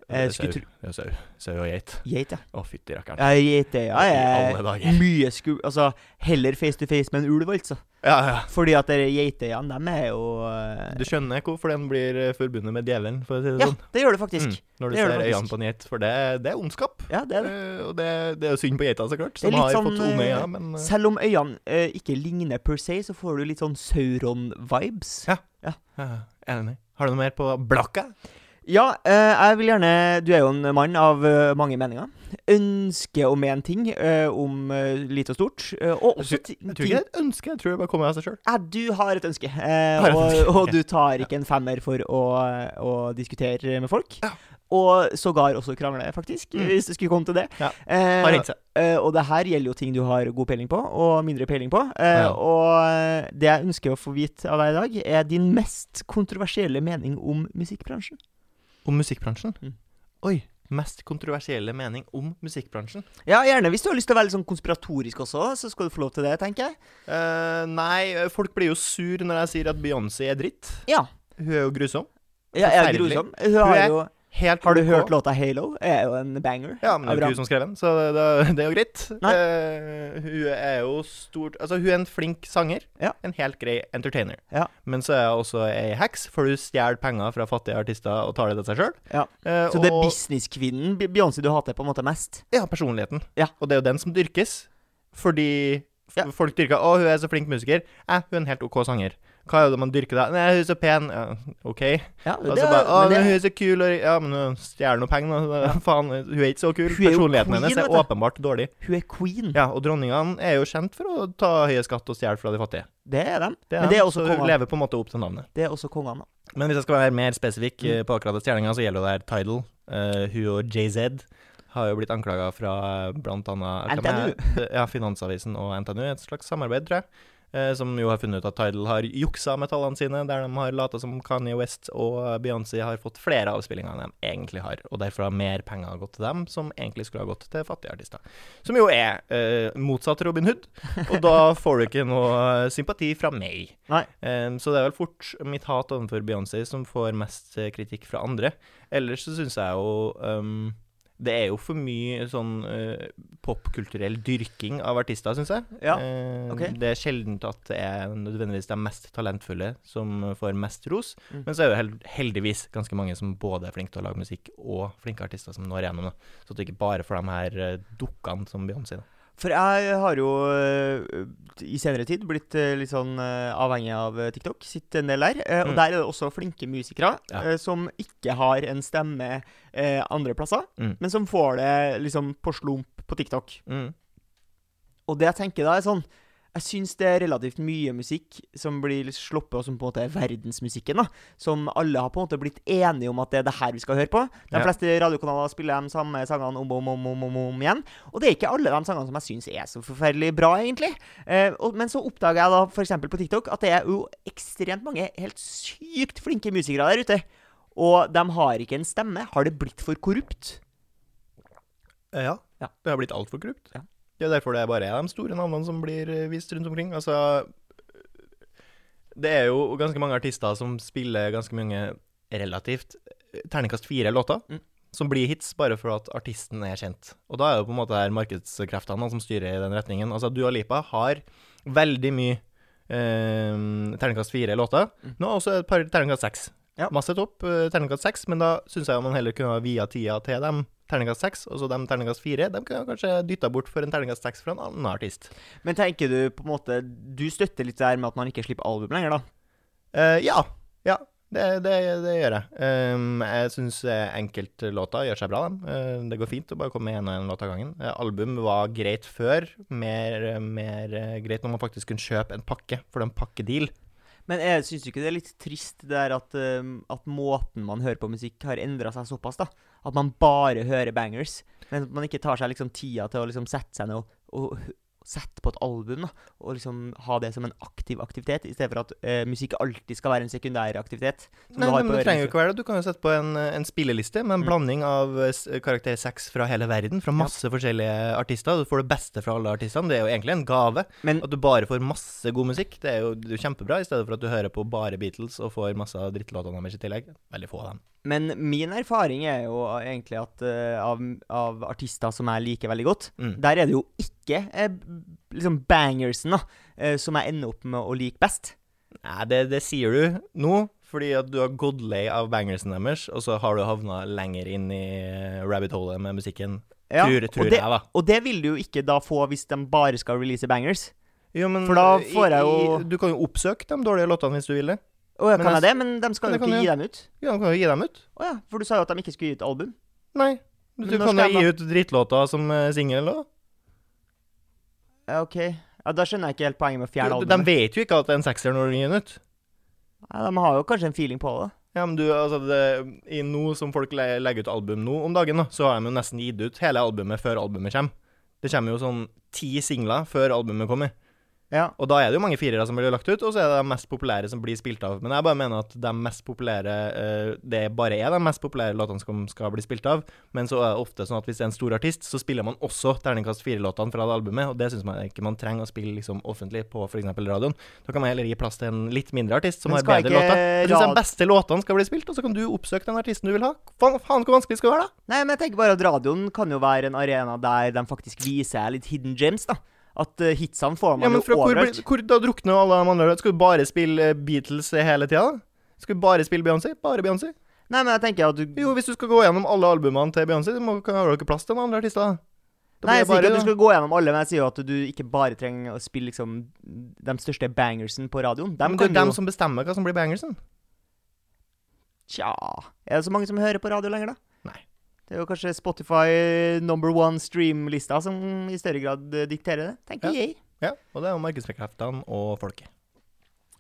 Speaker 2: eh,
Speaker 1: Sau
Speaker 2: skulle tro-
Speaker 1: ja, sau. Sau og geit.
Speaker 2: Geit, ja.
Speaker 1: Å, fytti rakkeren.
Speaker 2: Ja, Geitøya
Speaker 1: I
Speaker 2: er
Speaker 1: alle dager.
Speaker 2: mye sku... Altså, heller face to face med en ulv, altså.
Speaker 1: Ja, ja.
Speaker 2: Fordi at dere geitøyene, dem er jo eh,
Speaker 1: Du skjønner hvorfor den blir eh, forbundet med djevelen, for å si det
Speaker 2: Ja,
Speaker 1: sånn.
Speaker 2: det gjør det faktisk.
Speaker 1: Mm, når du
Speaker 2: Det
Speaker 1: ser
Speaker 2: gjør det faktisk.
Speaker 1: øynene på en geit, for det, det er ondskap.
Speaker 2: Ja, det er det.
Speaker 1: Eh, Og det, det er jo synd på geita, så klart,
Speaker 2: Det er
Speaker 1: som
Speaker 2: litt
Speaker 1: har
Speaker 2: sånn,
Speaker 1: fått onde
Speaker 2: eh,
Speaker 1: øyne, men eh,
Speaker 2: Selv om øynene eh, ikke ligner per se, så får du litt sånn Sauron-vibes.
Speaker 1: Ja. ja, jeg er enig. Har du noe mer på blakka?
Speaker 2: Ja, eh, jeg vil gjerne Du er jo en mann av eh, mange meninger. Ønske om én ting, eh, om eh, lite og stort. eh, og også
Speaker 1: Jeg
Speaker 2: ti-
Speaker 1: Jeg tror
Speaker 2: ting
Speaker 1: ikke det er et ønske, jeg tror det bare kommer av seg sjøl.
Speaker 2: Ja, Ah, du har et ønske, eh,
Speaker 1: Har et ønske,
Speaker 2: og, og
Speaker 1: ok.
Speaker 2: du tar ikke en femmer for å, å diskutere med folk. Og sågar også krangle, faktisk,
Speaker 1: Mm.
Speaker 2: hvis det skulle komme til det.
Speaker 1: Ja.
Speaker 2: Eh,
Speaker 1: Har rent seg.
Speaker 2: eh, og det her gjelder jo ting du har god peiling på, og mindre peiling på. Eh,
Speaker 1: Ja.
Speaker 2: Og eh, det jeg ønsker å få vite av deg i dag, er din mest kontroversielle mening om musikkbransjen.
Speaker 1: Om musikkbransjen?
Speaker 2: Mm.
Speaker 1: Oi. Mest kontroversielle mening om musikkbransjen?
Speaker 2: Ja, gjerne. Hvis du har lyst til å være litt sånn konspiratorisk også, så skal du få lov til det, tenker jeg.
Speaker 1: Eh, nei, folk blir jo sur når jeg sier at Beyoncé er dritt.
Speaker 2: Ja.
Speaker 1: Hun er jo grusom.
Speaker 2: Ja, jeg er
Speaker 1: Forferdelig.
Speaker 2: grusom. Hun har,
Speaker 1: er
Speaker 2: jo,
Speaker 1: Helt
Speaker 2: har du
Speaker 1: ok.
Speaker 2: hørt låta 'Halo'? Er jo en banger.
Speaker 1: Ja, men det er jo
Speaker 2: Abraham.
Speaker 1: ikke hun som skrev den, så det, det, det er jo greit.
Speaker 2: Nei.
Speaker 1: Eh, hun er jo stort Altså, hun er en flink sanger.
Speaker 2: Ja.
Speaker 1: En helt grei entertainer.
Speaker 2: Ja.
Speaker 1: Men så er hun også ei heks, for hun stjeler penger fra fattige artister og tar det til seg sjøl.
Speaker 2: Ja. Så det er businesskvinnen Be- Beyoncé du hater på en måte mest?
Speaker 1: Ja, personligheten.
Speaker 2: Ja.
Speaker 1: Og det er jo den som dyrkes. Fordi f-
Speaker 2: Ja.
Speaker 1: folk dyrker 'Å, hun er så flink musiker'. Eh, hun er en helt OK sanger. Hva er det man dyrker da? 'Nei, hun er så pen'. Ja, OK.
Speaker 2: Ja,
Speaker 1: Og så bare 'Å,
Speaker 2: men
Speaker 1: men hun
Speaker 2: det,
Speaker 1: er så kul', og Ja, men hun stjeler noe penger, da. Faen, hun er ikke så kul.
Speaker 2: Hun er jo
Speaker 1: Personligheten
Speaker 2: queen,
Speaker 1: hennes er
Speaker 2: vet du.
Speaker 1: åpenbart dårlig.
Speaker 2: hun er queen.
Speaker 1: Ja, og dronningene er jo kjent for å ta høye skatt og stjele fra de fattige.
Speaker 2: Det er dem.
Speaker 1: Det er,
Speaker 2: Men det er
Speaker 1: dem,
Speaker 2: også
Speaker 1: så hun
Speaker 2: kongene.
Speaker 1: lever på en måte opp til navnet.
Speaker 2: Det er også kongene. da.
Speaker 1: Men hvis jeg skal være mer spesifikk eh, på akkurat stjelinga, så gjelder det her Tidal. Eh, hun og JZ har jo blitt anklaga fra eh, blant annet
Speaker 2: NTNU.
Speaker 1: det- Ja, Finansavisen og NTNU. Et slags samarbeid, tror jeg. eh, Som jo har funnet ut at Tidal har juksa med tallene sine, der de har lata som Kanye West og Beyoncé har fått flere avspillinger enn de egentlig har, og derfor har mer penger gått til dem, som egentlig skulle ha gått til fattige artister. Som jo er eh, motsatt Robin Hood, og da får du ikke noe sympati fra meg.
Speaker 2: Nei.
Speaker 1: Ehm, så det er vel fort mitt hat overfor Beyoncé som får mest eh, kritikk fra andre. Ellers så syns jeg jo ehm, Det er jo for mye sånn eh, popkulturell dyrking av artister, syns jeg.
Speaker 2: Ja,
Speaker 1: Ehm,
Speaker 2: ok.
Speaker 1: Det er sjeldent at det er nødvendigvis de mest talentfulle som eh, får mest ros.
Speaker 2: Mm.
Speaker 1: Men så er det jo hel heldigvis ganske mange som både er flinke til å lage musikk, og flinke artister som når igjennom. Da. Så at du ikke bare får de her eh, dukkene som Beyoncé. Da.
Speaker 2: For jeg har jo øh, i senere tid blitt øh, litt sånn øh, avhengig av øh, TikTok. Sitter en del der. øh, Og
Speaker 1: Mm.
Speaker 2: der er det også flinke musikere
Speaker 1: Ja.
Speaker 2: øh, som ikke har en stemme øh, andre plasser,
Speaker 1: Mm.
Speaker 2: men som får det liksom på slump på TikTok.
Speaker 1: Mm.
Speaker 2: Og det jeg tenker da, er sånn Jeg syns det er relativt mye musikk som blir sluppet, og som på en måte er verdensmusikken, da. Som alle har på en måte blitt enige om at det er det her vi skal høre på. De
Speaker 1: Ja.
Speaker 2: fleste radiokanaler spiller de samme sangene om og om, om, om, om, om igjen. Og det er ikke alle de sangene som jeg syns er så forferdelig bra, egentlig. Eh, og, men så oppdager jeg da f.eks. på TikTok at det er jo ekstremt mange helt sykt flinke musikere der ute. Og de har ikke en stemme. Har det blitt for korrupt?
Speaker 1: Eh, Ja.
Speaker 2: Ja.
Speaker 1: Det har blitt altfor korrupt.
Speaker 2: Ja.
Speaker 1: Det er derfor det er bare de store navnene som blir eh, vist rundt omkring. Altså Det er jo ganske mange artister som spiller ganske mange relativt eh, terningkast fire låter.
Speaker 2: Mm.
Speaker 1: Som blir hits bare for at artisten er kjent. Og da er det på en måte her markedskreftene som styrer i den retningen. Altså Dua Lipa har veldig mye eh, terningkast fire låter.
Speaker 2: Mm.
Speaker 1: Nå er også et par terningkast seks.
Speaker 2: Ja.
Speaker 1: Masse topp, eh, terningkast seks, men da syns jeg man heller kunne ha via tida til dem terningkast seks, og så dem terningkast fire. De kunne jeg kanskje dytta bort for en terningkast seks fra en annen artist.
Speaker 2: Men tenker du på en måte Du støtter litt det her med at man ikke slipper album lenger, da?
Speaker 1: Eh, ja. Ja. Det, det, det gjør jeg. Ehm, jeg syns enkeltlåter gjør seg bra, dem. Eh, det går fint å bare komme med en og en låt av gangen. Eh, album var greit før. Mer, mer eh, greit når man faktisk kunne kjøpe en pakke, for det er en pakkedeal.
Speaker 2: Men jeg syns du ikke det er litt trist det der at, um, at måten man hører på musikk, har endra seg såpass? da At man bare hører bangers, men at man ikke tar seg liksom tida til å liksom sette seg ned og, og hø- sette på et album. da Og liksom ha det som en aktiv aktivitet, i stedet for at eh, musikk alltid skal være en sekundær aktivitet. Som
Speaker 1: Nei,
Speaker 2: du har
Speaker 1: men
Speaker 2: på
Speaker 1: det trenger jo
Speaker 2: øret.
Speaker 1: ikke være det. Du kan jo sette på en, en spilleliste med en
Speaker 2: Mm.
Speaker 1: blanding av eh, s- karakter 6 fra hele verden, fra masse forskjellige artister. Du får det beste fra alle artistene. Det er jo egentlig en gave.
Speaker 2: Men-
Speaker 1: at du bare får masse god musikk, det er jo, det er jo kjempebra, i stedet for at du hører på bare Beatles og får masse av drittlåtene deres i tillegg. Veldig få av dem.
Speaker 2: Men min erfaring er jo egentlig at eh, av, av artister som jeg liker veldig godt,
Speaker 1: Mm.
Speaker 2: der er det jo ikke eh, b- liksom bangersen da eh, som jeg ender opp med å like best.
Speaker 1: Nei, det, det sier du nå, fordi at du har gått lei av bangersen deres, og så har du havna lenger inn i eh, rabbit holet med musikken.
Speaker 2: Ja,
Speaker 1: tror tror
Speaker 2: og det,
Speaker 1: jeg, da.
Speaker 2: Og det vil du jo ikke da få hvis de bare skal release bangers.
Speaker 1: Jo, men
Speaker 2: For da
Speaker 1: i-
Speaker 2: får jeg
Speaker 1: i-
Speaker 2: jo-
Speaker 1: Du kan jo oppsøke de dårlige låtene hvis du vil det.
Speaker 2: Å ja,
Speaker 1: Men
Speaker 2: kan jeg
Speaker 1: jeg
Speaker 2: det? Men de skal
Speaker 1: Men det
Speaker 2: jo ikke
Speaker 1: kan
Speaker 2: gi dem ut.
Speaker 1: Ja, du kan jo gi dem ut.
Speaker 2: Å ja, for du sa jo at de ikke skulle gi ut album.
Speaker 1: Nei.
Speaker 2: Men
Speaker 1: Du
Speaker 2: når
Speaker 1: kan
Speaker 2: skal
Speaker 1: jo
Speaker 2: jeg
Speaker 1: gi ut drittlåter som eh, singel òg.
Speaker 2: Ja, ok. Ja, Da skjønner jeg ikke helt poenget med å fjerne
Speaker 1: De
Speaker 2: albumet.
Speaker 1: vet jo ikke at det er en sekser når du gir den ut.
Speaker 2: Ja, de har jo kanskje en feeling på det.
Speaker 1: Ja, men du, altså det, I nå som folk le- legger ut album nå om dagen, da, så har de jo nesten gitt ut hele albumet før albumet kommer. Det kommer jo sånn ti singler før albumet kommer.
Speaker 2: Ja.
Speaker 1: Og da er det jo mange firere som blir lagt ut, og så er det de mest populære som blir spilt av. Men jeg bare mener at de mest populære eh, Det bare er de mest populære låtene som skal bli spilt av. Men så er det ofte sånn at hvis det er en stor artist, så spiller man også terningkast fire-låtene fra det albumet, og det syns man ikke man trenger å spille liksom offentlig på f.eks. radioen. Da kan man heller gi plass til en litt mindre artist som
Speaker 2: Men
Speaker 1: har
Speaker 2: skal
Speaker 1: bedre
Speaker 2: ikke
Speaker 1: låter. Jeg syns
Speaker 2: rad-
Speaker 1: de beste låtene skal bli spilt, og så kan du oppsøke den artisten du vil ha. Faen, faen hvor vanskelig skal det være, da?
Speaker 2: Nei, men jeg tenker bare at radioen kan jo være en arena der de faktisk viser litt hidden gems, da. At eh, hitsene får man
Speaker 1: Ja, men fra
Speaker 2: jo
Speaker 1: hvor,
Speaker 2: overalt.
Speaker 1: blir- hvor da drukner jo alle de andre? Skal du bare spille eh, Beatles hele tida, da? Skal du bare spille Beyoncé? Bare Beyoncé?
Speaker 2: Nei, men jeg tenker at du
Speaker 1: Jo, hvis du skal gå gjennom alle albumene til Beyoncé, så må- har du ikke plass til noen andre artister. Da
Speaker 2: Nei, jeg
Speaker 1: blir
Speaker 2: sier
Speaker 1: det
Speaker 2: ikke
Speaker 1: bare-
Speaker 2: at du skal gå gjennom alle, men jeg sier jo at du ikke bare trenger å spille liksom de største bangersen på radioen.
Speaker 1: Ja,
Speaker 2: Dem
Speaker 1: men
Speaker 2: kan
Speaker 1: det er dem
Speaker 2: jo
Speaker 1: som bestemmer hva som blir bangersen.
Speaker 2: Tja Er det så mange som hører på radio lenger, da?
Speaker 1: Nei.
Speaker 2: Det er jo kanskje Spotify number one stream-lista som i større grad eh, dikterer det, tenker
Speaker 1: Ja.
Speaker 2: jeg.
Speaker 1: Ja, og det er jo markedsbekreftene og folket.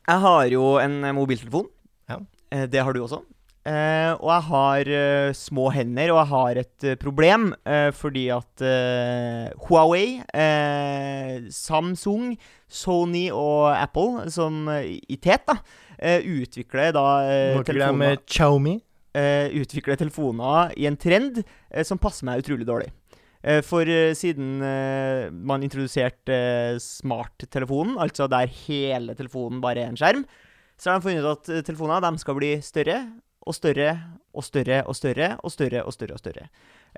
Speaker 2: Jeg har jo en eh, mobiltelefon.
Speaker 1: Ja.
Speaker 2: Eh, Det har du også. Eh, og jeg har eh, små hender, og jeg har et eh, problem eh, fordi at eh, Huawei, eh, Samsung, Sony og Apple, som eh, i tet, da, eh, utvikler da eh,
Speaker 1: Må ikke glemme
Speaker 2: telefoner,
Speaker 1: Xiaomi.
Speaker 2: eh, utvikler telefoner i en trend eh, som passer meg utrolig dårlig. Eh, For eh, siden eh, man introduserte eh, smarttelefonen, altså der hele telefonen bare er en skjerm, så har de funnet ut at eh, telefoner de skal bli større og større og større og større og større og større. Og større.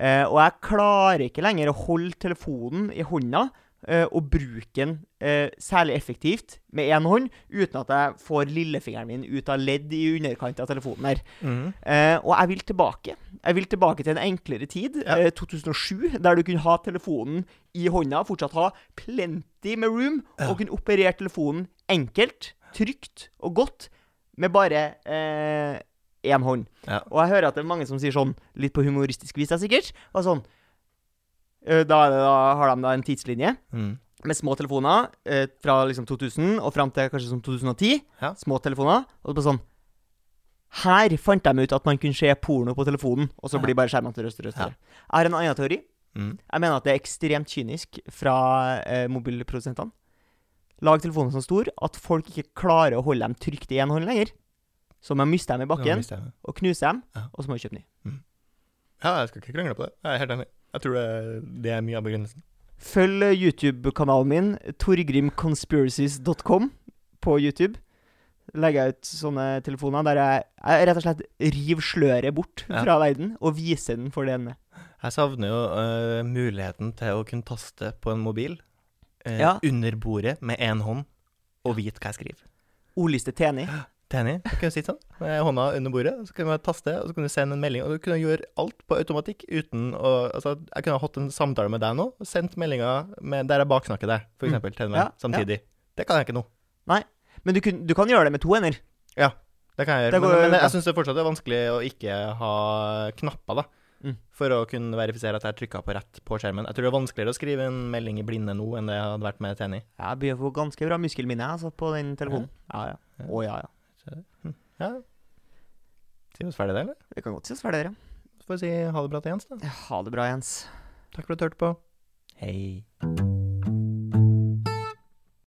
Speaker 2: Eh, og jeg klarer ikke lenger å holde telefonen i hånda eh, og bruke den eh, særlig effektivt med én hånd, uten at jeg får lillefingeren min ut av ledd i underkant av telefonen her.
Speaker 1: Mhm.
Speaker 2: Eh, og jeg vil tilbake. Jeg vil tilbake til en enklere tid,
Speaker 1: Ja.
Speaker 2: eh, 2007, der du kunne ha telefonen i hånda, fortsatt ha plenty med room, og kunne operere telefonen enkelt, trygt og godt, med bare eh, én hånd.
Speaker 1: Ja.
Speaker 2: Og jeg hører at det er mange som sier sånn, litt på humoristisk vis, da sikkert, og sånn eh, da, er det, da har de da en tidslinje
Speaker 1: Mhm.
Speaker 2: med små telefoner eh, fra liksom 2000 og fram til kanskje som 2010.
Speaker 1: Ja.
Speaker 2: Små telefoner. Og bare sånn Her fant de ut at man kunne se porno på telefonen, og så
Speaker 1: Ja.
Speaker 2: blir bare skjermene større og større. og større. Jeg har en annen teori.
Speaker 1: Mhm.
Speaker 2: Jeg mener at det er ekstremt kynisk fra eh, mobilprodusentene. Lag telefonen så stor at folk ikke klarer å holde dem trygt i én hånd lenger. Så må de miste dem i
Speaker 1: Ja,
Speaker 2: bakken
Speaker 1: visst er det.
Speaker 2: og knuse dem,
Speaker 1: Ja.
Speaker 2: og så må de kjøpe ny.
Speaker 1: Ja, jeg skal ikke krangle på det. Jeg er helt enig. Jeg tror det, det er mye av begrunnelsen.
Speaker 2: Følg eh, YouTube-kanalen min, torgrimconspiracies.com, på YouTube. Legger jeg ut sånne telefoner der jeg, jeg rett og slett river sløret bort
Speaker 1: Ja.
Speaker 2: fra verden og viser den for det den er.
Speaker 1: Jeg savner jo øh, muligheten til å kunne taste på en mobil eh,
Speaker 2: Ja.
Speaker 1: under bordet med én hånd og vite hva jeg skriver.
Speaker 2: Ordliste Teni.
Speaker 1: Enig? Du kunne sitte sånn med hånda under bordet, så kunne jeg taste, og så kunne du sende en melding. Og du kunne gjøre alt på automatikk uten å Altså, jeg kunne ha hatt en samtale med deg nå, og sendt meldinger med, der jeg baksnakker deg, for
Speaker 2: Mm.
Speaker 1: eksempel, til en
Speaker 2: Ja,
Speaker 1: venn, samtidig. Det kan jeg ikke nå.
Speaker 2: Men du, kun, du kan gjøre det med to hender.
Speaker 1: Det kan jeg
Speaker 2: Det
Speaker 1: gjøre.
Speaker 2: går-
Speaker 1: men, men
Speaker 2: ja.
Speaker 1: jeg syns det fortsatt er vanskelig å ikke ha knapper, da.
Speaker 2: Mm.
Speaker 1: For å kunne verifisere at jeg trykka på rett på skjermen. Jeg tror det er vanskeligere å skrive en melding i blinde nå enn det hadde vært med TNI.
Speaker 2: Jeg begynner å få ganske bra muskelminne jeg, altså, på den telefonen. Ja, ja.
Speaker 1: Ja.
Speaker 2: Å ja, ja.
Speaker 1: Ja. Sier vi oss ferdig der, eller?
Speaker 2: Vi kan godt si oss ferdig der, ja.
Speaker 1: Så får vi si ha det bra til Jens, da.
Speaker 2: Ha det bra, Jens.
Speaker 1: Takk for at du hørte på. Hei.